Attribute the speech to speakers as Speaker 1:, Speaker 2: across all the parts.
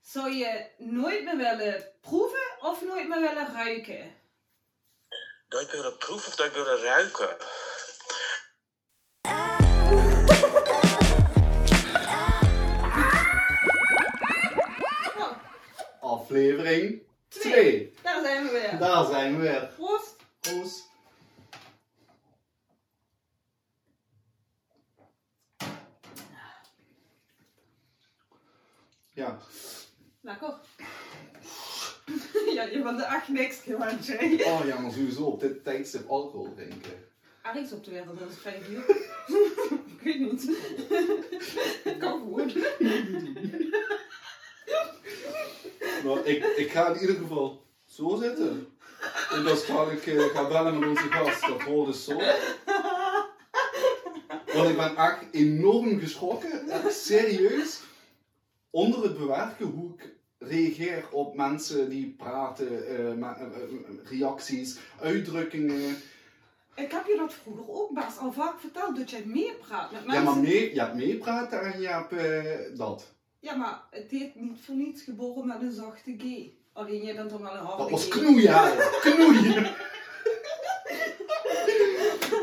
Speaker 1: Zou je nooit meer willen proeven of nooit meer willen ruiken?
Speaker 2: Nooit meer willen proeven of nooit meer willen ruiken?
Speaker 1: Nou,
Speaker 3: Aflevering
Speaker 1: Twee.
Speaker 3: 2.
Speaker 1: daar zijn we weer.
Speaker 3: Daar zijn we weer.
Speaker 1: Proost.
Speaker 3: Proost. Ja,
Speaker 1: Lekker. Nou, Ja, je bent er echt niks gewend, hè?
Speaker 3: oh ja, maar sowieso op dit tijdstip alcohol drinken.
Speaker 1: Er is op de wereld, dat is vrij veel. Ik weet niet. Het kan gewoon.
Speaker 3: Maar ik, ik ga in ieder geval zo zitten. En dan ga ik eh, ga bellen met onze gast, dat hoort dus zo. Want ik ben echt enorm geschrokken, echt serieus, onder het bewerken hoe ik reageer op mensen die praten, eh, ma- eh, eh, reacties, uitdrukkingen.
Speaker 1: Ik heb je dat vroeger ook best al vaak verteld, dat jij meepraat met
Speaker 3: Ja,
Speaker 1: mensen.
Speaker 3: maar mee, ja, meepraten en je hebt eh, dat.
Speaker 1: Ja, maar het heet niet voor niets geboren met een zachte G. Alleen jij bent dan wel een harde
Speaker 3: Dat was
Speaker 1: G.
Speaker 3: knoeien, hè. knoeien.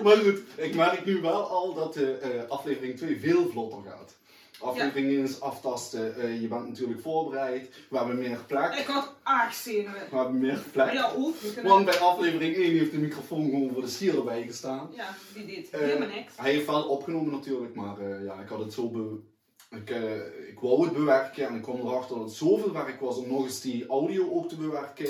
Speaker 3: maar goed, ik merk nu wel al dat de eh, aflevering 2 veel vlotter gaat. Aflevering 1 is aftasten, eh, je bent natuurlijk voorbereid, we hebben meer
Speaker 1: Ik
Speaker 3: plek.
Speaker 1: had aardzenuwen.
Speaker 3: We hebben meer plek.
Speaker 1: Ja, ook. We kunnen-
Speaker 3: Want bij aflevering 1 heeft de microfoon gewoon voor de stieren bijgestaan.
Speaker 1: Ja, die deed
Speaker 3: Eh,
Speaker 1: helemaal niks.
Speaker 3: Hij heeft wel opgenomen natuurlijk, maar eh, ja, ik had het zo be... Ik, eh, ik wou het bewerken en ik kwam erachter dat het zoveel werk was om nog eens die audio ook te bewerken.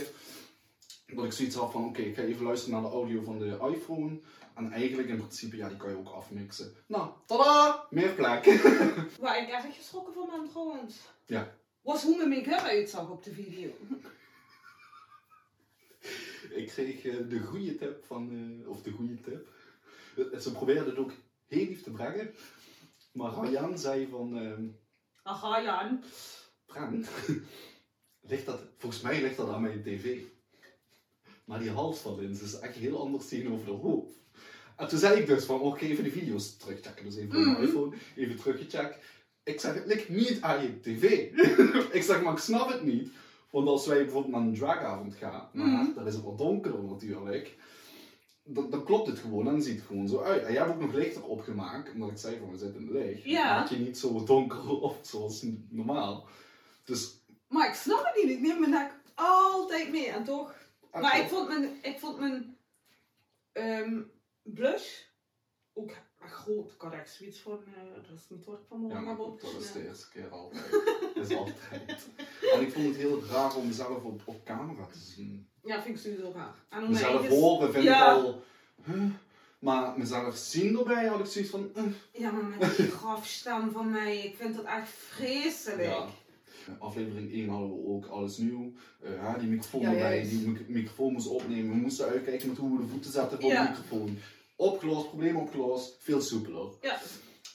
Speaker 3: Dat ik zoiets had van, oké, ik ga even luisteren naar de audio van de iPhone. En eigenlijk in principe, ja, die kan je ook afmixen. Nou, tada! Meer plek.
Speaker 1: Waar ik erg geschrokken van ben trouwens.
Speaker 3: Ja.
Speaker 1: Was hoe mijn make-up uitzag op de video.
Speaker 3: ik kreeg eh, de goede tip van, eh, of de goede tip. Eh, Ze probeerden het ook heel lief te brengen. Maar Rayan zei van, ehm,
Speaker 1: Aha, Jan.
Speaker 3: Frank, ligt dat, volgens mij ligt dat aan mijn tv. Maar die hals van Lins is echt heel anders tegenover de hoofd. En toen zei ik dus van, oké, even de video's terugchecken. Dus even op mijn
Speaker 1: Mhm.
Speaker 3: iPhone, even teruggecheckt. Ik zeg, het ligt niet aan je tv. ik zeg, maar ik snap het niet. Want als wij bijvoorbeeld naar een dragavond gaan, maar
Speaker 1: Mhm.
Speaker 3: dan is het wat donkerder natuurlijk. Dan, dan klopt het gewoon en dan ziet het gewoon zo uit. En jij hebt ook nog lichter opgemaakt, omdat ik zei van, we zitten in licht.
Speaker 1: Ja.
Speaker 3: Dan had je niet zo donker op zoals normaal. Dus
Speaker 1: Maar ik snap het niet. Ik neem mijn nek altijd mee. En toch.
Speaker 3: Ah,
Speaker 1: Maar ik vond mijn, ik vond mijn ehm, blush ook echt groot. Ik had echt zoiets van, eh, dat is niet wat ik
Speaker 3: Ja,
Speaker 1: vanmorgen
Speaker 3: maar
Speaker 1: heb
Speaker 3: goed, dat is de
Speaker 1: opgesneden.
Speaker 3: eerste keer altijd. Dat is altijd. En ik vond het heel raar om mezelf op, op camera te zien.
Speaker 1: Ja, vind ik sowieso raar. En om mijn
Speaker 3: Mezelf
Speaker 1: eigen-
Speaker 3: horen vind
Speaker 1: Ja.
Speaker 3: ik al... huh? Maar mezelf zien erbij had ik zoiets van... eh.
Speaker 1: Ja, maar met die grafstem van mij, ik vind dat echt vreselijk.
Speaker 3: Ja. Aflevering 1 hadden we ook alles nieuw. Eh, ja, die microfoon
Speaker 1: Ja,
Speaker 3: erbij,
Speaker 1: juist.
Speaker 3: die mic- microfoon moest opnemen. We moesten uitkijken met hoe we de voeten zetten voor
Speaker 1: Ja.
Speaker 3: de microfoon. Opgelost, probleem opgelost, veel soepeler.
Speaker 1: Ja.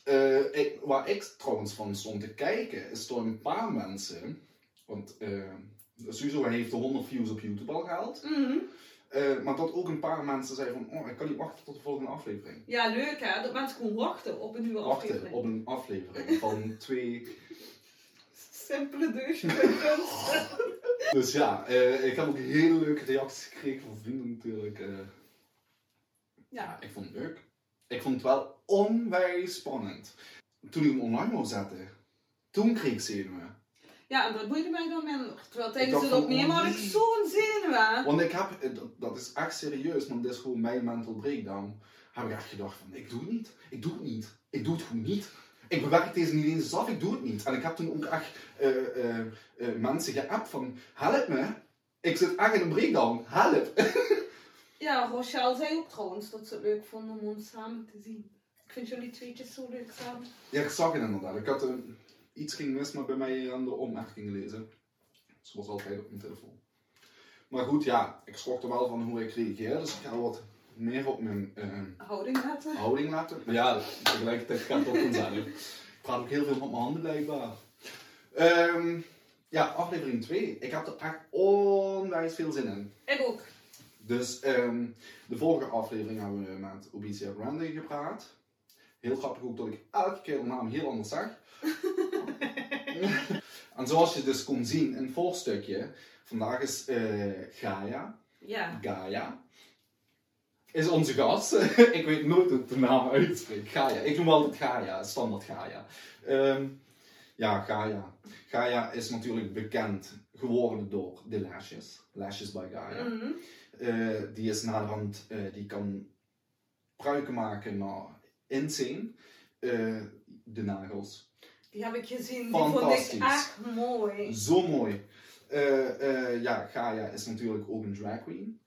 Speaker 3: Eh, ik- waar ik trouwens van stond te kijken, is door een paar mensen. Want eh Suzo heeft de 100 views op YouTube al gehaald.
Speaker 1: Mhm.
Speaker 3: Eh, maar dat ook een paar mensen zeiden van, oh, ik kan niet wachten tot de volgende aflevering.
Speaker 1: Ja, leuk hè, dat mensen gewoon wachten op een nieuwe
Speaker 3: Wachten
Speaker 1: aflevering.
Speaker 3: op een aflevering van twee...
Speaker 1: Simpele deugdkunst.
Speaker 3: Dus ja, eh, ik heb ook hele leuke reacties gekregen van vrienden natuurlijk. eh.
Speaker 1: ja.
Speaker 3: ik vond het leuk. Ik vond het wel onwijs spannend. Toen ik hem online wou zetten, toen kreeg ik zenuwen.
Speaker 1: ja, en dat boeide mij dan minder. Terwijl
Speaker 3: Ik
Speaker 1: tijdens
Speaker 3: dacht
Speaker 1: het
Speaker 3: van,
Speaker 1: opnemen
Speaker 3: oh
Speaker 1: had ik
Speaker 3: nee.
Speaker 1: zo'n zenuwen.
Speaker 3: Want ik heb, eh, dat, dat is echt serieus, want dit is gewoon mijn mental breakdown. Heb ik echt gedacht van, ik doe het niet. Ik doe het niet. Ik doe het gewoon niet. Ik bewerk deze niet eens af, ik doe het niet. En ik heb toen ook echt eh, eh, eh, mensen geappt van, help me. Ik zit echt in een breakdown, help.
Speaker 1: Ja, Rochelle zei ook trouwens dat ze het leuk vond om ons samen te zien. Ik vind jullie tweetjes zo leuk samen.
Speaker 3: Ja, ik zag het inderdaad. Ik had een, iets ging mis, maar bij mij aan de opmerking lezen. Zoals altijd op mijn telefoon. Maar goed, ja, ik schrok er wel van hoe ik reageer, dus ik ga wat meer op mijn... eh,
Speaker 1: Houding laten.
Speaker 3: houding laten. Maar ja, tegelijkertijd gaat dat vanzelf. Ik praat ook heel veel met mijn handen blijkbaar. Ehm, ja, aflevering 2. Ik heb er echt onwijs veel zin in.
Speaker 1: Ik ook.
Speaker 3: Dus ehm, de vorige aflevering hebben we met Obisia Grande gepraat. Heel grappig ook dat ik elke keer de naam heel anders zeg. En zoals je dus kon zien in het voorstukje, vandaag is eh Gaia,
Speaker 1: Ja.
Speaker 3: Gaia, is onze gast. ik weet nooit hoe ik de naam uitspreek. Gaia, ik noem altijd Gaia, standaard Gaia. Ehm, ja, Gaia. Gaia is natuurlijk bekend geworden door de Lashes, Lashes by Gaia.
Speaker 1: Mhm.
Speaker 3: Eh, die is naderhand, eh, die kan pruiken maken naar insane. Eh, de nagels.
Speaker 1: Die heb ik gezien. Die vond ik
Speaker 3: Fantastisch.
Speaker 1: echt mooi.
Speaker 3: Zo mooi. Eh, eh, ja, Gaia is natuurlijk ook een drag queen.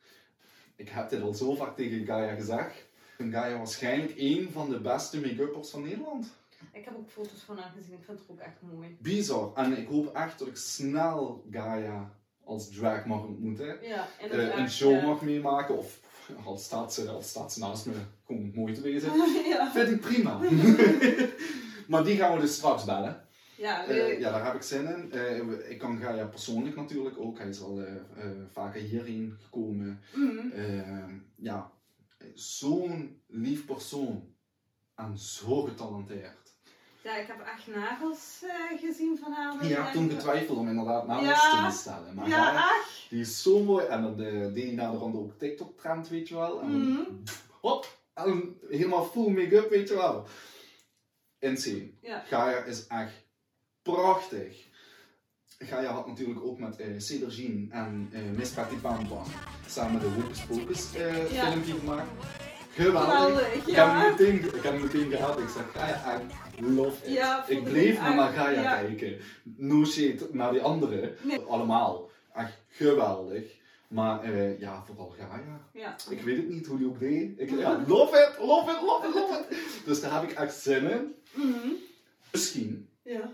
Speaker 3: Ik heb dit al zo vaak tegen Gaia gezegd. En Gaia waarschijnlijk een van de beste make-uppers van Nederland.
Speaker 1: Ik heb ook foto's van haar gezien. Ik vind het ook echt mooi.
Speaker 3: Bizar. En ik hoop echt dat ik snel Gaia als drag mag ontmoeten.
Speaker 1: Ja,
Speaker 3: Eh,
Speaker 1: inderdaad.
Speaker 3: een show
Speaker 1: ja.
Speaker 3: mag meemaken. Of al staat, ze, al staat ze naast me gewoon mooi te wezen.
Speaker 1: ja.
Speaker 3: Vind ik prima. maar die gaan we dus straks bellen.
Speaker 1: Ja,
Speaker 3: Eh,
Speaker 1: leuk.
Speaker 3: ja, daar heb ik zin in. Eh, ik kan Gaia persoonlijk natuurlijk ook. Hij is al eh, eh, vaker hierheen gekomen.
Speaker 1: Mhm.
Speaker 3: Eh, ja, zo'n lief persoon. En zo getalenteerd.
Speaker 1: Ja, ik heb echt nagels eh, gezien van haar.
Speaker 3: Je hebt toen getwijfeld om inderdaad namens
Speaker 1: Ja.
Speaker 3: te stellen. Maar Gaia,
Speaker 1: Ja, echt.
Speaker 3: die is zo mooi. En dan eh, deed hij naderhand ook TikTok-trend, weet je wel. En
Speaker 1: Mhm.
Speaker 3: Hop, en helemaal full make-up, weet je wel. Insane.
Speaker 1: Ja.
Speaker 3: Gaia is echt prachtig. Gaia had natuurlijk ook met eh Cedergine en eh Miss Patty Pam Pam samen de Hocus Pocus eh,
Speaker 1: Ja.
Speaker 3: filmpje gemaakt. Geweldig.
Speaker 1: Geweldig,
Speaker 3: ik,
Speaker 1: ja.
Speaker 3: heb hem meteen, ik heb hem meteen gehaald. Ik zeg, Gaia, I love it.
Speaker 1: Ja, vond
Speaker 3: ik
Speaker 1: ik
Speaker 3: bleef
Speaker 1: ook
Speaker 3: maar naar
Speaker 1: echt,
Speaker 3: Gaia
Speaker 1: ja.
Speaker 3: kijken. No shit naar die anderen.
Speaker 1: Nee.
Speaker 3: Allemaal. Echt geweldig. Maar eh, ja, vooral Gaia.
Speaker 1: Ja.
Speaker 3: Ik weet het niet hoe die ook deed. Ik, ja, love it, love it, love it, love it. Dus daar heb ik echt zin in.
Speaker 1: Mhm.
Speaker 3: Misschien
Speaker 1: Ja.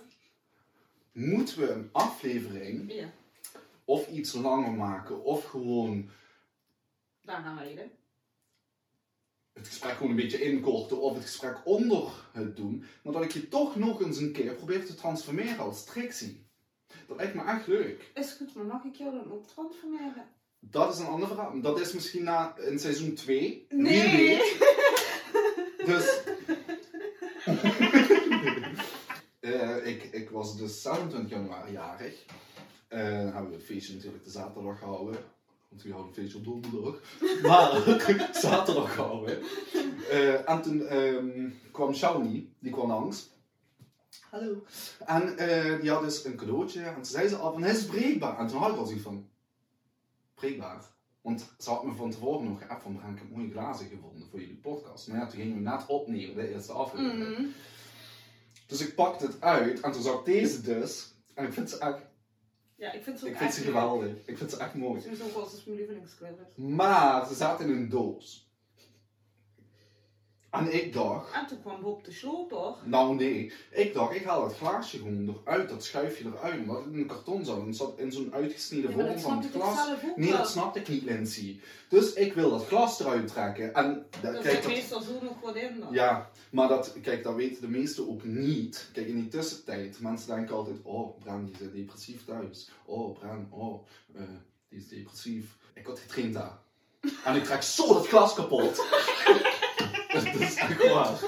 Speaker 3: moeten we een aflevering
Speaker 1: Ja.
Speaker 3: of iets langer maken of gewoon
Speaker 1: Daar gaan we heden.
Speaker 3: het gesprek gewoon een beetje inkorten of het gesprek onder het doen. Maar dat ik je toch nog eens een keer probeer te transformeren als Trixie. Dat lijkt me echt leuk.
Speaker 1: Is goed, maar mag ik jou dan ook transformeren?
Speaker 3: Dat is een ander verhaal. Dat is misschien na in seizoen 2. Dus. Eh, ik, ik was dus 27 januari jarig. Eh, dan hebben we het feestje natuurlijk de zaterdag gehouden. Want we houden een feestje op donderdag. Maar zaterdag gehouden. Eh, en toen ehm, kwam Shauni, die kwam langs. Hallo. En eh, die had dus een cadeautje. En ze zei ze al van, hij is breekbaar. En toen had ik al zoiets van, breekbaar? Want ze had me van tevoren nog geappt van, Bram, ik heb mooie glazen gevonden voor jullie podcast. Maar ja, toen gingen we net opnemen, de eerste aflevering.
Speaker 1: Mhm.
Speaker 3: Dus ik pakte het uit en toen zag ik deze dus. En ik vind ze echt,
Speaker 1: Ja, ik vind ze ook
Speaker 3: ik vind
Speaker 1: echt
Speaker 3: ze
Speaker 1: leuk.
Speaker 3: geweldig. Ik vind ze echt mooi.
Speaker 1: Sowieso was het mijn lievelingskleur.
Speaker 3: Maar ze zaten in een doos. En ik dacht,
Speaker 1: En toen kwam Bob de sloper.
Speaker 3: nou nee, ik dacht, ik haal dat glaasje gewoon eruit, dat schuifje eruit, omdat het in een karton zat. En het zat in zo'n uitgesneden
Speaker 1: Ja, maar
Speaker 3: vorm
Speaker 1: dat
Speaker 3: van
Speaker 1: snap
Speaker 3: het
Speaker 1: ik
Speaker 3: glas.
Speaker 1: zelf ook
Speaker 3: Nee,
Speaker 1: wel.
Speaker 3: dat snapte ik niet, Lindsay. Dus ik wil dat glas eruit trekken. En
Speaker 1: Er
Speaker 3: kijk,
Speaker 1: zit
Speaker 3: dat,
Speaker 1: meestal zo nog wat in dan.
Speaker 3: Ja, maar dat, kijk, dat weten de meesten ook niet. Kijk, in die tussentijd, mensen denken altijd, oh, Bram, die zit depressief thuis. Oh, Bram, oh, eh, die is depressief. Ik had getraind daar. En ik trek zo dat glas kapot. dat is echt waar.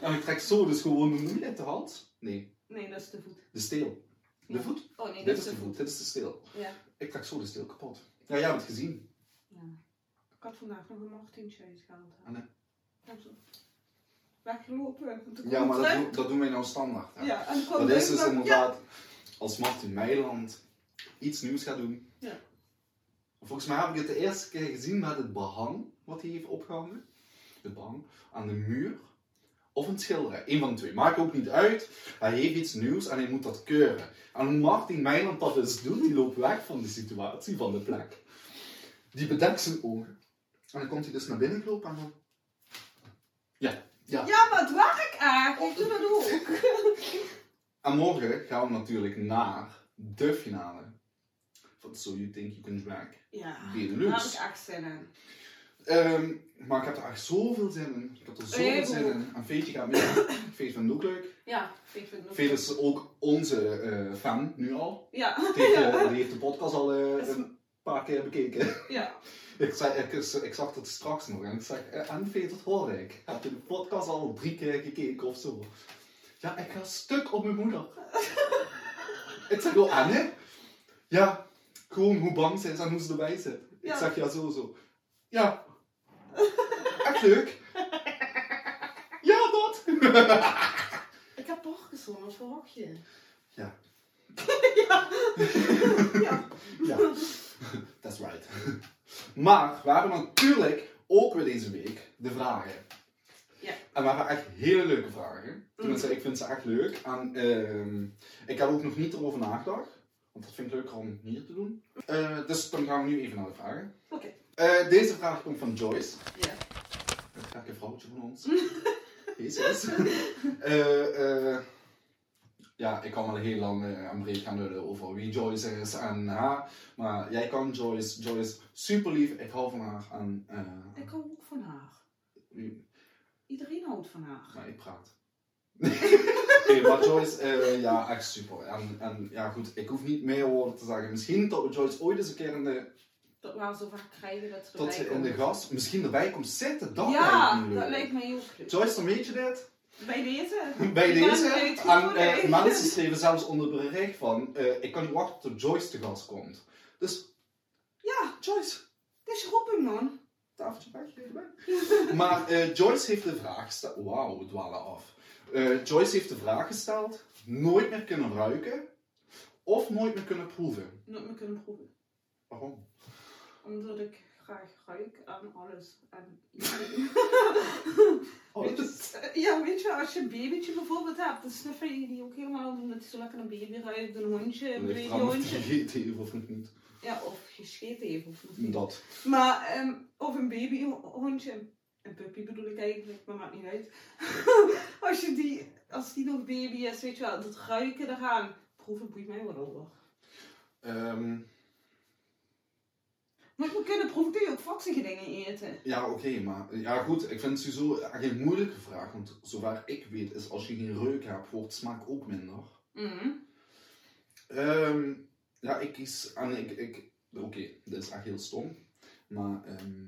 Speaker 3: En ik trek zo dus gewoon, hoe noem je het, de hals? Nee,
Speaker 1: Nee, dat is de voet.
Speaker 3: de steel. De voet?
Speaker 1: Oh nee,
Speaker 3: Dit is de voet, dit is de steel.
Speaker 1: Ja.
Speaker 3: Ik trek zo de steel kapot. Ja, jij hebt het gezien.
Speaker 1: Ja. Ik had vandaag nog een Martientje uitgehaald.
Speaker 3: Ah, nee.
Speaker 1: Ik heb zo weggelopen. En toen
Speaker 3: Ja,
Speaker 1: kwam
Speaker 3: maar dat,
Speaker 1: terug.
Speaker 3: doen- dat doen wij nou standaard. hè.
Speaker 1: Ja, en toen kwam
Speaker 3: Dat is
Speaker 1: terug
Speaker 3: dus
Speaker 1: en-
Speaker 3: inderdaad, als Martin Meiland iets nieuws gaat doen.
Speaker 1: Ja.
Speaker 3: Volgens mij heb ik het de eerste keer gezien met het behang wat hij heeft opgehangen. Het behang aan de muur. Of een schilderij. Eén van de twee. Maakt ook niet uit. Hij heeft iets nieuws en hij moet dat keuren. En hoe Martin Meiland dat dus doet, die loopt weg van de situatie, van de plek. Die bedekt zijn ogen. En dan komt hij dus naar binnen lopen en dan... Ja, ja.
Speaker 1: Ja. ja, maar het werk echt. Ik doe dat ook.
Speaker 3: En morgen gaan we natuurlijk naar de finale van So You Think You Can Drag.
Speaker 1: Ja,
Speaker 3: Benelux.
Speaker 1: daar heb ik echt zin in.
Speaker 3: Ehm, maar ik heb er echt zoveel zin in. Ik heb er zoveel
Speaker 1: Heel
Speaker 3: zin
Speaker 1: goed.
Speaker 3: in. En Veetje gaat mee. Veetje vindt het ook leuk.
Speaker 1: Ja, ik vind het ook.
Speaker 3: Veetje is ook onze eh, fan nu al.
Speaker 1: Ja.
Speaker 3: Die heeft, eh, die heeft de podcast al eh,
Speaker 1: Is-
Speaker 3: een paar keer bekeken.
Speaker 1: ja.
Speaker 3: ik, zei, ik, ik zag dat straks nog en ik zeg, eh, en Veetje, dat hoor ik. Heb je de podcast al drie keer gekeken of zo? Ja, ik ga stuk op mijn moeder. Ik zeg wel aan, hè? Ja, gewoon hoe bang ze is en hoe ze erbij zit.
Speaker 1: Ja.
Speaker 3: Ik zeg ja, zo, zo. Ja. Echt leuk. Ja, dat.
Speaker 1: Ik heb toch gezongen, wat verwacht je?
Speaker 3: Ja.
Speaker 1: Ja.
Speaker 3: Ja, that's right. Maar we hebben natuurlijk ook weer deze week de vragen.
Speaker 1: Ja. Mm.
Speaker 3: En we hebben echt hele leuke vragen. Tenminste, ik vind ze echt leuk. En ehm, ik heb ook nog niet erover nagedacht. Want dat vind ik leuker om hier te doen. Eh, dus dan gaan we nu even naar de vragen.
Speaker 1: Oké.
Speaker 3: Eh, deze vraag komt van Joyce.
Speaker 1: Ja.
Speaker 3: Het gekke vrouwtje van ons. Jezus. Eh, eh, ja, ik kan wel heel lang eh, en breed gaan lullen over wie Joyce is en haar. Maar jij kan Joyce. Joyce, super lief. Ik hou van haar. En, eh,
Speaker 1: Ik hou ook van haar.
Speaker 3: wie-
Speaker 1: Iedereen houdt van haar.
Speaker 3: maar ik praat. Nee, maar Joyce, eh, ja, echt super. En, en ja, goed, ik hoef niet meer woorden te zeggen. Misschien dat we Joyce ooit eens een keer in de,
Speaker 1: Dat we haar zo vaak krijgen dat ze
Speaker 3: dat
Speaker 1: erbij
Speaker 3: ze in de
Speaker 1: komt.
Speaker 3: gast, misschien erbij komt zitten. Dat
Speaker 1: Ja,
Speaker 3: lijkt me leuk.
Speaker 1: dat lijkt mij heel leuk.
Speaker 3: Joyce, dan weet je dit.
Speaker 1: Bij deze.
Speaker 3: Bij
Speaker 1: Ik ben
Speaker 3: deze,
Speaker 1: er niet goed
Speaker 3: en,
Speaker 1: voor,
Speaker 3: eh,
Speaker 1: nee.
Speaker 3: mensen schreven zelfs onder bericht van, eh, ik kan niet wachten tot Joyce te gast komt. Dus,
Speaker 1: Ja,
Speaker 3: Joyce,
Speaker 1: dit is roeping man.
Speaker 3: tafeltje weg, geef weg. maar eh, Joyce heeft de vraag gesteld, wauw, we dwalen af. Eh, Joyce heeft de vraag gesteld, nooit meer kunnen ruiken of nooit meer kunnen proeven.
Speaker 1: Nooit meer kunnen proeven.
Speaker 3: Waarom?
Speaker 1: Omdat ik graag ruik aan alles. En...
Speaker 3: Oh,
Speaker 1: Weet
Speaker 3: dat
Speaker 1: je-
Speaker 3: is-
Speaker 1: eh, Ja, weet je, als je een babytje bijvoorbeeld hebt, dan snuffen je die ook helemaal omdat hij zo lekker een baby ruikt, een hondje, een
Speaker 3: Ligt eraan of die
Speaker 1: babyhondje.
Speaker 3: gegeten heeft of niet.
Speaker 1: Ja, of gescheten heeft of niet.
Speaker 3: Dat.
Speaker 1: Maar, ehm, of een babyhondje, een puppy bedoel ik eigenlijk, maar maakt niet uit. als, je die, als die nog baby is, weet je wel, dat ruiken eraan, proeven boeit mij wel over.
Speaker 3: Ehm,
Speaker 1: Maar we kunnen proeven, kun je ook vaksige dingen eten.
Speaker 3: ja, oké, maar ja, goed, ik vind het sowieso echt een moeilijke vraag, want zover ik weet is als je geen reuk hebt, wordt smaak ook minder.
Speaker 1: Mhm.
Speaker 3: Ehm, ja, ik kies. En ik, ik, Oké, dit is echt heel stom. Maar ehm,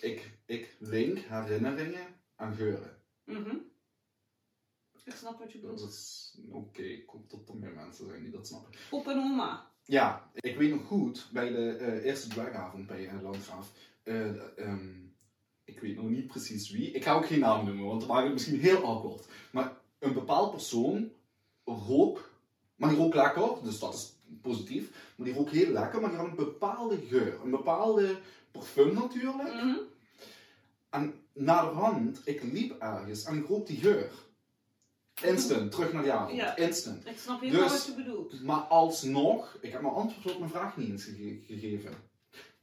Speaker 3: ik, ik link herinneringen aan geuren.
Speaker 1: mhm. Ik snap wat je
Speaker 3: Dat
Speaker 1: bedoelt.
Speaker 3: is. Oké, ik hoop dat er meer mensen zijn die dat snappen.
Speaker 1: Op en oma.
Speaker 3: Ja, ik weet nog goed bij de eh, eerste dragavond bij eh, Landgraaf. eh, ehm, ik weet nog niet precies wie. Ik ga ook geen naam noemen, want dan maak ik misschien heel awkward. Maar een bepaald persoon rook, maar die rook lekker, dus dat is positief. Maar die rook heel lekker, maar die had een bepaalde geur. Een bepaalde parfum natuurlijk.
Speaker 1: Mhm.
Speaker 3: En naderhand, ik liep ergens en ik rook die geur. Instant, terug naar die avond.
Speaker 1: Ja.
Speaker 3: Instant.
Speaker 1: Ik snap helemaal
Speaker 3: Dus-
Speaker 1: wat je bedoelt.
Speaker 3: Maar alsnog, ik heb mijn antwoord op mijn vraag niet eens gege- gegeven.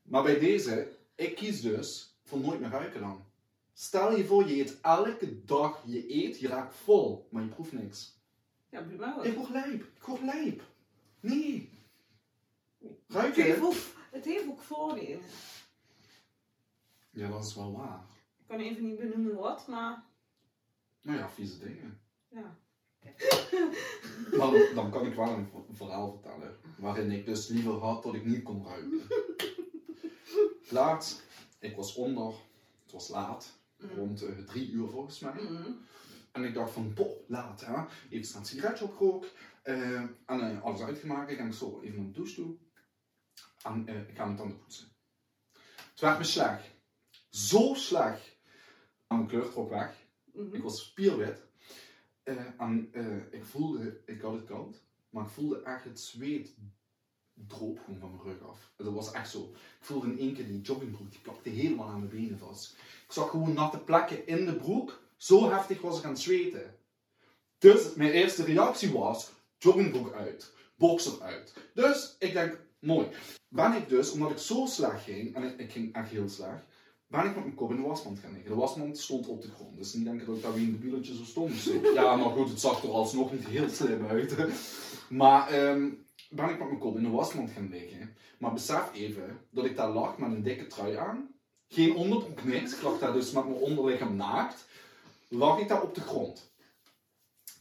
Speaker 3: Maar bij deze, ik kies dus voor nooit meer ruiken dan. Stel je voor, je eet elke dag, je eet, je raakt vol, maar je proeft niks.
Speaker 1: Ja, boeit mij wel.
Speaker 3: Ik word lijp, ik word lijp. Nee.
Speaker 1: Het heeft,
Speaker 3: Ruiken?
Speaker 1: ook, het heeft ook voordelen.
Speaker 3: Ja, dat is wel waar.
Speaker 1: Ik kan even niet benoemen wat, maar
Speaker 3: Nou ja, vieze dingen.
Speaker 1: ja.
Speaker 3: Maar dan, dan kan ik wel een v- verhaal vertellen, waarin ik dus liever had dat ik niet kon ruiken. Laat, ik was onder, het was laat.
Speaker 1: Mm.
Speaker 3: rond eh, drie uur volgens mij.
Speaker 1: Mhm.
Speaker 3: En ik dacht van, boh, laat hè. Even snel een sigaretje opgerookt. Eh, en eh, alles uitgemaakt. Ik ging zo even naar de douche toe. En eh, ik ga mijn tanden poetsen. Het werd me slecht. Zo slecht. En mijn kleur trok weg. Ik
Speaker 1: Mhm.
Speaker 3: was spierwit. Eh, en eh, ik voelde, ik had het koud. Maar ik voelde echt het zweet droop gewoon van mijn rug af. Dat was echt zo. Ik voelde in één keer die joggingbroek, die plakte helemaal aan mijn benen vast. Ik zag gewoon natte plekken in de broek. Zo heftig was ik aan het zweten. Dus mijn eerste reactie was, joggingbroek uit, boxer uit. Dus ik denk, mooi. Ben ik dus, omdat ik zo slecht ging, en ik, ik ging echt heel slecht, ben ik met mijn kop in de wasmand gaan liggen. De wasmand stond op de grond, dus niet denken dat ik daar weer een debieletje zo stond. Dus ja, maar goed, het zag er alsnog niet heel slim uit. Maar ehm, ben ik met mijn kop in de wasmand gaan liggen. Maar besef even dat ik daar lag met een dikke trui aan. Geen onderbroek, niks. Ik lag daar dus met mijn onderlichaam naakt. Lag ik daar op de grond.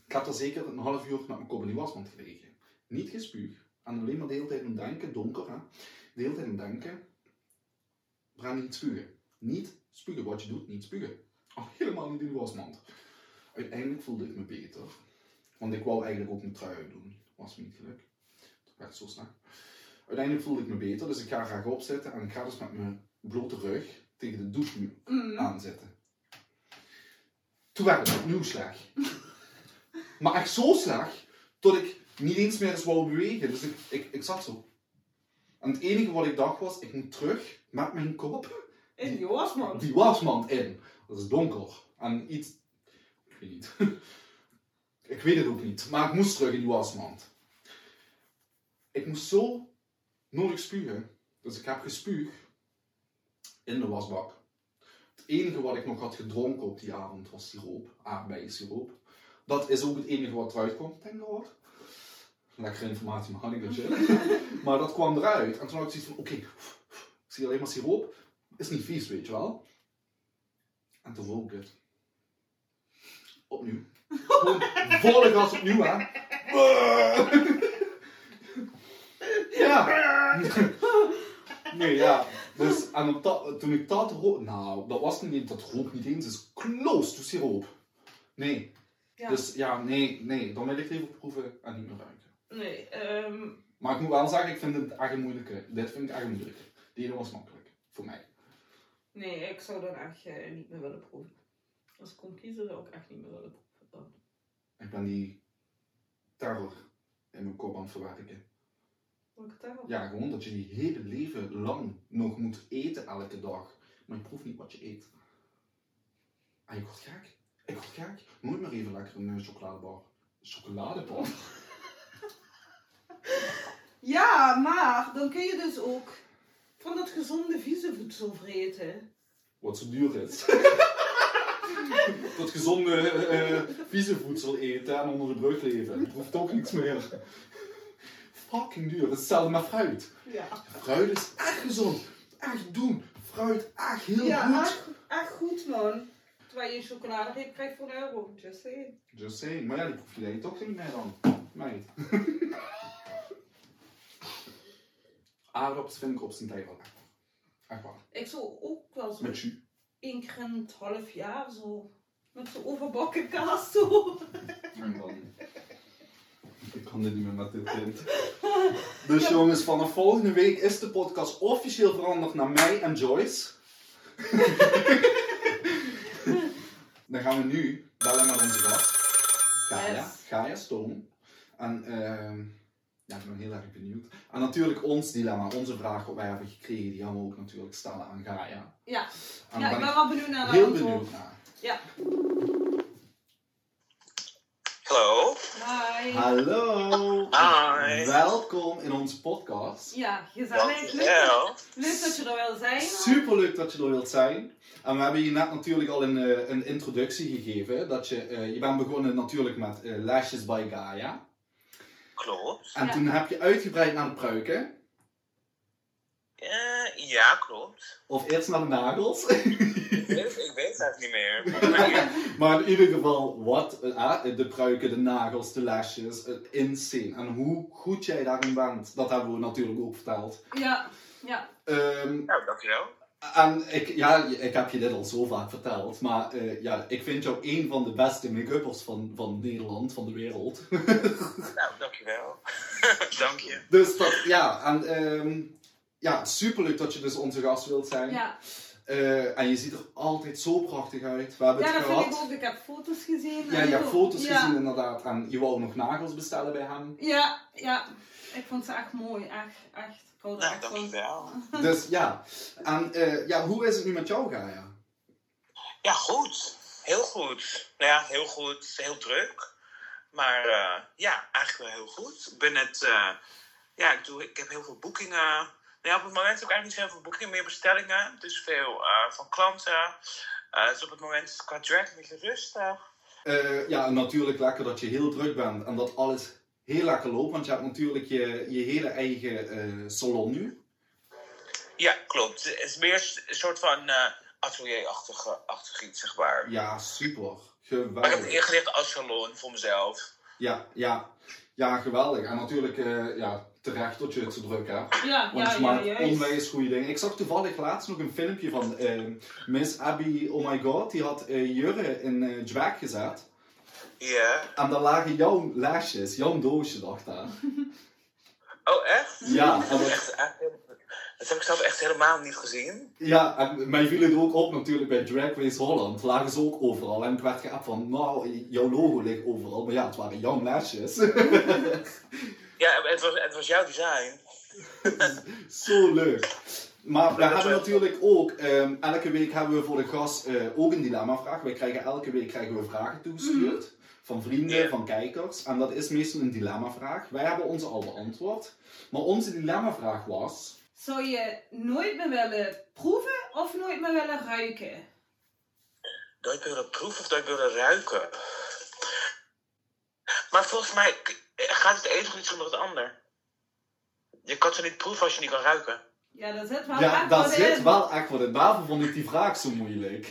Speaker 3: Ik heb daar zeker een half uur met mijn kop in die wasmand gelegen. Niet gespuugd. En alleen maar de hele tijd aan het denken. Donker, hè. De hele tijd aan het denken. Breng niet spugen. Niet spugen. Wat je doet, niet spugen. Al helemaal niet in de wasmand. Uiteindelijk voelde ik me beter. Want ik wou eigenlijk ook mijn trui uitdoen. was me niet gelukt. Toen werd het zo snel. Uiteindelijk voelde ik me beter, dus ik ga graag opzetten en ik ga dus met mijn blote rug tegen de douchemuur
Speaker 1: Mm.
Speaker 3: aanzetten. Toen werd het opnieuw slag. Maar echt zo slag, dat ik niet eens meer eens wou bewegen. Dus ik, ik, ik zat zo. En het enige wat ik dacht was, ik moet terug met mijn kop
Speaker 1: In die wasmand.
Speaker 3: die wasmand in. Dat is donker. En iets... Ik weet niet. ik weet het ook niet. Maar ik moest terug in die wasmand. Ik moest zo nodig spugen. Dus ik heb gespuugd in de wasbak. Het enige wat ik nog had gedronken op die avond was siroop. Aardbeiensiroop. Dat is ook het enige wat eruit kwam. Thank God. Lekkere informatie, maar had ik dat shit. maar dat kwam eruit. En toen had ik zoiets van, oké, ik zie alleen maar siroop. Is niet vies, weet je wel. En toen vond ik het. Opnieuw. Gewoon volle gas opnieuw, hè. ja. Nee, ja. Dus en op dat, toen ik dat rook... Nou, dat was niet eens, dat rook niet eens. Het is close to siroop. Nee.
Speaker 1: Ja.
Speaker 3: Dus ja, nee, nee. Dan wil ik het even proeven en niet meer ruiken.
Speaker 1: Nee, ehm,
Speaker 3: Maar ik moet wel zeggen, ik vind het echt moeilijk. Dit vind ik echt moeilijk. Die ene was makkelijk. Voor mij.
Speaker 1: nee, ik zou dat echt eh, niet meer willen proeven. Als ik kon kiezen, zou ik echt niet meer willen proeven. Dan.
Speaker 3: Ik ben die terror in mijn kop aan het verwerken.
Speaker 1: Wil ik het daar wel?
Speaker 3: Ja, gewoon dat je die hele leven lang nog moet eten elke dag. Maar je proeft niet wat je eet. En je wordt gek. Ik word gek. Nooit meer even lekker een eh, chocoladebar. Chocoladebar?
Speaker 1: Ja, maar dan kun je dus ook van dat gezonde vieze voedsel vreten.
Speaker 3: Wat zo duur is. dat gezonde eh, vieze voedsel eten en onder de brug leven. Je proeft ook niks meer. Fucking duur. Hetzelfde met fruit.
Speaker 1: Ja,
Speaker 3: Fruit is echt gezond. Echt doen. Fruit echt heel
Speaker 1: ja
Speaker 3: goed.
Speaker 1: echt, echt goed man. Terwijl je chocoladereep krijgt voor een euro, just saying.
Speaker 3: Just saying. Maar ja, die proef je denk ik toch niet meer dan. Meid. Aardappels vind ik op zijn tijd wel lekker. Echt waar.
Speaker 1: Ik zou ook wel zo
Speaker 3: Met jus.
Speaker 1: één keer in het half jaar zo met zo'n overbakken kaas zo.
Speaker 3: En dan... Ik kan dit niet meer met dit kind. Dus jongens, vanaf volgende week is de podcast officieel veranderd naar mij en Joyce. dan gaan we nu bellen met onze gast. Gaia.
Speaker 1: Yes.
Speaker 3: Gaia Stoom. En ehm, ja, ik ben heel erg benieuwd. En natuurlijk ons dilemma, onze vraag wat wij hebben gekregen, die gaan we ook natuurlijk stellen aan Gaia.
Speaker 1: Ja,
Speaker 3: En
Speaker 1: ja
Speaker 3: daar
Speaker 1: ik ben wel benieuwd naar de
Speaker 3: heel
Speaker 1: antwoord.
Speaker 3: benieuwd naar.
Speaker 1: Ja,
Speaker 2: Hallo.
Speaker 1: hi.
Speaker 3: Hallo!
Speaker 2: Hi.
Speaker 3: Welkom in onze podcast.
Speaker 1: Ja, gezellig. Leuk,
Speaker 2: Dankjewel.
Speaker 1: leuk dat je er wel zijn.
Speaker 3: Super leuk dat je er wilt zijn. En we hebben je net natuurlijk al een, eh, een introductie gegeven. Dat je, eh, je bent begonnen natuurlijk met eh, Lashes by Gaia.
Speaker 2: Klopt.
Speaker 3: En
Speaker 1: Ja.
Speaker 3: toen heb je uitgebreid naar de pruiken.
Speaker 2: Eh, ja, klopt.
Speaker 3: Of eerst naar de nagels.
Speaker 2: Ik weet, ik weet het eigenlijk niet meer.
Speaker 3: maar in ieder geval, wat eh, de pruiken, de nagels, de lashes. eh, insane. En hoe goed jij daarin bent, dat hebben we natuurlijk ook verteld.
Speaker 1: Ja, ja.
Speaker 3: Ehm,
Speaker 2: Nou, dankjewel.
Speaker 3: En Ehm, ik, ja, ik heb je dit al zo vaak verteld, maar eh, ja, ik vind jou een van de beste make-uppers van, van Nederland, van de wereld.
Speaker 2: Nou, dankjewel. Dank je.
Speaker 3: dus dat, ja, en ehm ja, superleuk dat je dus onze gast wilt zijn.
Speaker 1: ja.
Speaker 3: Eh, en je ziet er altijd zo prachtig uit. We hebben
Speaker 1: ja
Speaker 3: het
Speaker 1: dat
Speaker 3: gehad.
Speaker 1: vind ik ook. Ik heb foto's gezien.
Speaker 3: Ja,
Speaker 1: En
Speaker 3: je
Speaker 1: ik
Speaker 3: hebt
Speaker 1: ook-
Speaker 3: foto's
Speaker 1: ja.
Speaker 3: gezien inderdaad. En je wou nog nagels bestellen bij hem.
Speaker 1: Ja, ja. Ik vond ze echt mooi. Echt, echt. Ik hou er
Speaker 2: Nou,
Speaker 1: echt van.
Speaker 2: dankjewel.
Speaker 3: Dus ja. En eh, ja, hoe is het nu met jou, Gaia?
Speaker 2: Ja, goed. Heel goed. Nou ja, heel goed. Heel druk. Maar eh, ja, eigenlijk wel heel goed. Ik ben net... eh, ja, ik, doe, ik heb heel veel boekingen. Nou ja, op het moment heb ik eigenlijk niet zoveel boekingen, meer bestellingen. Dus veel eh, van klanten. Eh, dus op het moment is het qua drag een beetje rustig.
Speaker 3: Eh, ja, en natuurlijk lekker dat je heel druk bent en dat alles heel lekker loopt, want je hebt natuurlijk je, je hele eigen eh, salon nu.
Speaker 2: Ja, klopt. Het is meer een soort van eh atelier-achtig achtig iets, zeg maar.
Speaker 3: Ja, super.
Speaker 2: Maar ik heb het
Speaker 3: Geweldig.
Speaker 2: ingericht als salon voor mezelf.
Speaker 3: Ja, ja. ja geweldig. En natuurlijk eh, ja, terecht dat je het zo druk hebt.
Speaker 1: Ja,
Speaker 3: Want
Speaker 1: ja,
Speaker 3: je
Speaker 1: ja,
Speaker 3: maakt
Speaker 1: juist.
Speaker 3: onwijs goede dingen. Ik zag toevallig laatst nog een filmpje van eh, Miss Abby Oh My God. Die had eh Jurre in eh drag gezet.
Speaker 2: Ja.
Speaker 3: En daar lagen jouw lesjes, jouw doosje lag daar.
Speaker 2: Oh, echt?
Speaker 3: Ja, en
Speaker 2: Dat, is
Speaker 3: dat-
Speaker 2: echt, dat heb ik zelf echt helemaal niet gezien.
Speaker 3: ja, en mij viel het ook op natuurlijk bij Drag Race Holland. Lagen ze ook overal. En ik werd geappt van, nou, jouw logo ligt overal. Maar ja, het waren jouw lesjes.
Speaker 2: Ja, het was, het was jouw design.
Speaker 3: Zo leuk. Maar we hebben natuurlijk ook, ehm, elke week hebben we voor de gast eh, ook een dilemma-vraag. Wij krijgen elke week krijgen we vragen toegestuurd
Speaker 1: Mhm.
Speaker 3: van vrienden,
Speaker 2: Ja.
Speaker 3: van kijkers. En dat is meestal een dilemma-vraag. Wij hebben onze al beantwoord. Maar onze dilemma-vraag was...
Speaker 1: Zou je nooit meer willen proeven of nooit meer willen ruiken?
Speaker 2: Nooit willen proeven of nooit willen ruiken. Maar volgens mij k- gaat het een goed zonder het ander. Je kan ze niet proeven als je niet kan ruiken.
Speaker 1: Ja, dat zit wel
Speaker 3: ja,
Speaker 1: echt
Speaker 3: daar
Speaker 1: wat
Speaker 3: zit
Speaker 1: in.
Speaker 3: wel echt wat in. Daarvoor vond ik die vraag zo moeilijk.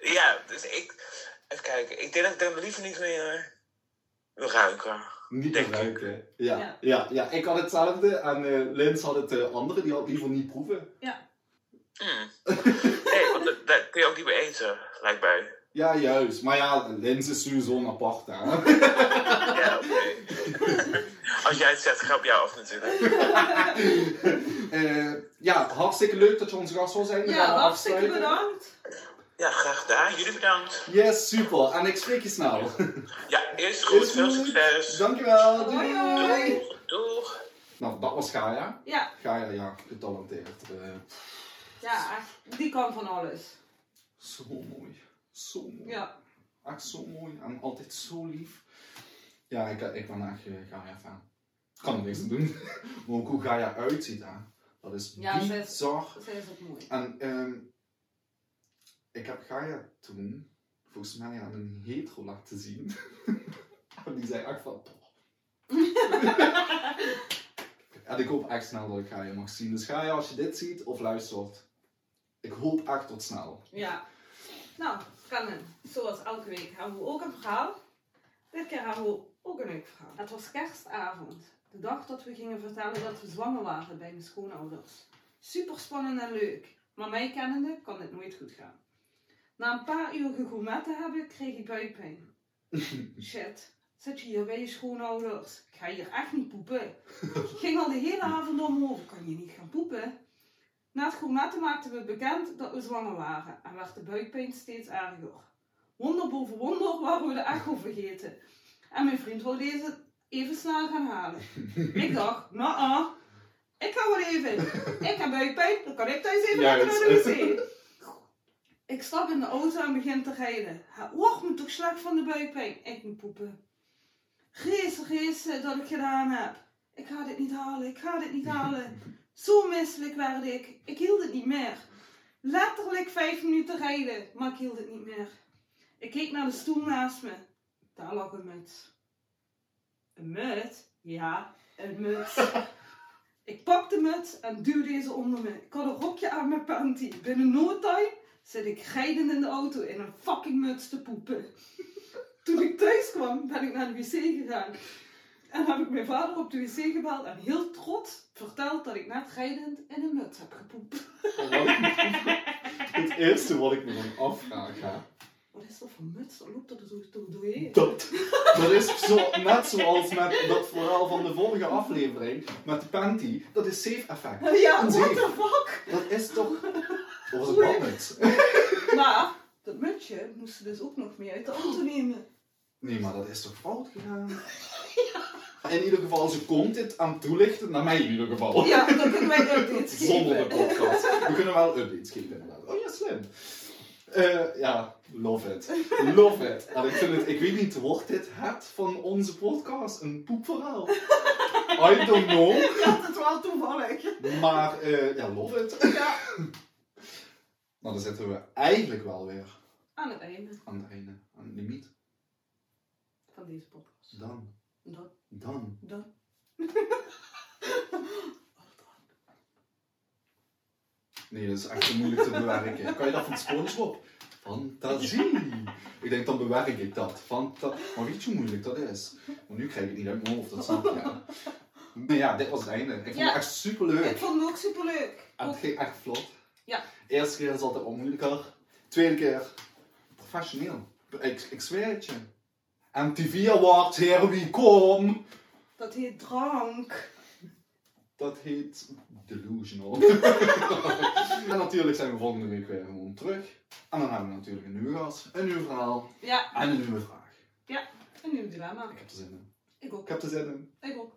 Speaker 2: Ja, dus ik... Even kijken. Ik denk dat ik dan liever niet meer wil ruiken.
Speaker 3: niet
Speaker 2: Denk
Speaker 3: te
Speaker 2: ik.
Speaker 3: ruiken. Ja, ja.
Speaker 1: Ja.
Speaker 3: Ja, ik had hetzelfde. En eh Lins had het eh, andere. Die had liever niet proeven.
Speaker 2: Hmm. Nee, want dat- daar kun je ook niet meer eten, lijkt mij.
Speaker 3: Ja, juist. Maar ja, Lins is sowieso een apart, hè.
Speaker 2: Ja, oké. Als jij het zegt, ga ik op jou af natuurlijk.
Speaker 3: Eh, ja, hartstikke leuk dat je onze gast wil zijn. We gaan
Speaker 1: Ja, hartstikke
Speaker 3: afsluiten.
Speaker 1: bedankt.
Speaker 2: Ja, graag gedaan. Jullie bedankt.
Speaker 3: Yes, super. En ik spreek je snel.
Speaker 2: Ja, is goed.
Speaker 3: Is
Speaker 2: Veel
Speaker 3: goed.
Speaker 2: succes.
Speaker 3: Dankjewel.
Speaker 1: Hoi, hoi.
Speaker 2: Doei. Doeg.
Speaker 3: Nou, dat was Gaia.
Speaker 1: Ja,
Speaker 3: Gaia, ja, getalenteerd. eh,
Speaker 1: ja, echt, die kan van alles.
Speaker 3: zo mooi. Zo mooi.
Speaker 1: Ja,
Speaker 3: Echt zo mooi. En altijd zo lief. Ja, ik, ik ben echt eh, Gaia-fan. Kan er niks aan doen. Maar ook hoe Gaia uitziet, hè. Dat is
Speaker 1: Ja, ze is-
Speaker 3: bizar.
Speaker 1: zij is ook mooi.
Speaker 3: En ehm, ik heb Gaia toen volgens mij aan een hetero laten zien. en die zei echt van... "Poh." en ik hoop echt snel dat ik Gaia mag zien. Dus Gaia, als je dit ziet of luistert, ik hoop echt tot snel.
Speaker 1: Ja. Nou, kan hem. Zoals elke week hebben we ook een verhaal. Dit keer hebben we ook een leuk verhaal. Het was kerstavond. De dag dat we gingen vertellen dat we zwanger waren bij mijn schoonouders. Super spannend en leuk. Maar mij kennende kan dit nooit goed gaan. Na een paar uur gegourmet te hebben, kreeg ik buikpijn. Shit, zit je hier bij je schoonouders? Ik ga hier echt niet poepen. Ik ging al de hele avond om over. Kan je niet gaan poepen? Na het gourmetten maakten we bekend dat we zwanger waren en werd de buikpijn steeds erger. Wonder boven wonder waren we de echo vergeten. En mijn vriend wilde deze even snel gaan halen. Ik dacht, nou ah, ik ga wel even. Ik heb buikpijn, dan kan ik thuis even lekker naar de wc. Ik stap in de auto en begin te rijden. Het wordt me toch slecht van de buikpijn. Ik moet poepen. Geest, geest dat ik gedaan heb. Ik ga dit niet halen, ik ga dit niet halen. Zo misselijk werd ik. Ik hield het niet meer. Letterlijk vijf minuten rijden, maar ik hield het niet meer. Ik keek naar de stoel naast me. Daar lag een muts. Een muts? Ja, een muts. ik pak de muts en duw deze onder me. Ik had een rokje aan mijn panty. Binnen no time zit ik rijdend in de auto in een fucking muts te poepen. Toen ik thuis kwam, ben ik naar de wc gegaan. En heb ik mijn vader op de wc gebeld en heel trots verteld dat ik net rijdend in een muts heb gepoept.
Speaker 3: Het eerste wat ik me dan afvraag, hè.
Speaker 1: Wat is dat voor muts? Dan loopt dat er zo door- doorheen.
Speaker 3: Dat, dat is zo, net zoals met dat verhaal van de vorige aflevering, met de panty. Dat is safe effect.
Speaker 1: Ja,
Speaker 3: Een
Speaker 1: what
Speaker 3: zeef.
Speaker 1: the fuck?
Speaker 3: Dat is toch... Of was het badmuts?
Speaker 1: Maar dat mutsje moest ze dus ook nog mee uit de auto nemen.
Speaker 3: Nee, maar dat is toch fout gedaan? In ieder geval, ze komt dit aan toelichten, naar mij in ieder geval.
Speaker 1: Ja, dat kunnen wij ook niet
Speaker 3: Zonder de
Speaker 1: geven.
Speaker 3: podcast. We kunnen wel updates geven, inderdaad. Oh ja, slim. Eh, ja, love it. Love it. En ik, vind het, ik weet niet, wordt dit het van onze podcast? Een poepverhaal? I don't know.
Speaker 1: Ja, dat is wel toevallig.
Speaker 3: Maar, eh, ja, love it.
Speaker 1: Ja.
Speaker 3: Nou, dan zitten we eigenlijk wel weer
Speaker 1: Aan het einde
Speaker 3: aan het einde, aan het limiet.
Speaker 1: van deze podcast.
Speaker 3: Dan,
Speaker 1: Dan,
Speaker 3: dan.
Speaker 1: dan.
Speaker 3: Nee, dat is echt te moeilijk te bewerken. Kan je dat van SpongeBob? Fantasie. Ik denk, dan bewerk ik dat. Fanta maar weet je hoe moeilijk dat is? Want nu krijg ik het niet uit mijn hoofd, dat snap je. Maar ja, dit was het einde. Ik vond
Speaker 1: Ja.
Speaker 3: het echt superleuk.
Speaker 1: Ik vond het ook superleuk.
Speaker 3: En het ging echt vlot.
Speaker 1: Ja.
Speaker 3: Eerste keer is altijd wat moeilijker. Tweede keer, professioneel. Ik, ik zweer het je. MTV Awards, here we come.
Speaker 1: Dat heet drank.
Speaker 3: Dat heet Delusional. en natuurlijk zijn we volgende week weer gewoon terug. En dan hebben we natuurlijk een nieuwe gast, een nieuw verhaal
Speaker 1: Ja,
Speaker 3: en een nieuwe vraag.
Speaker 1: een nieuw dilemma.
Speaker 3: Ik heb er zin in.
Speaker 1: Ik ook.
Speaker 3: Ik heb er zin in.
Speaker 1: Ik ook.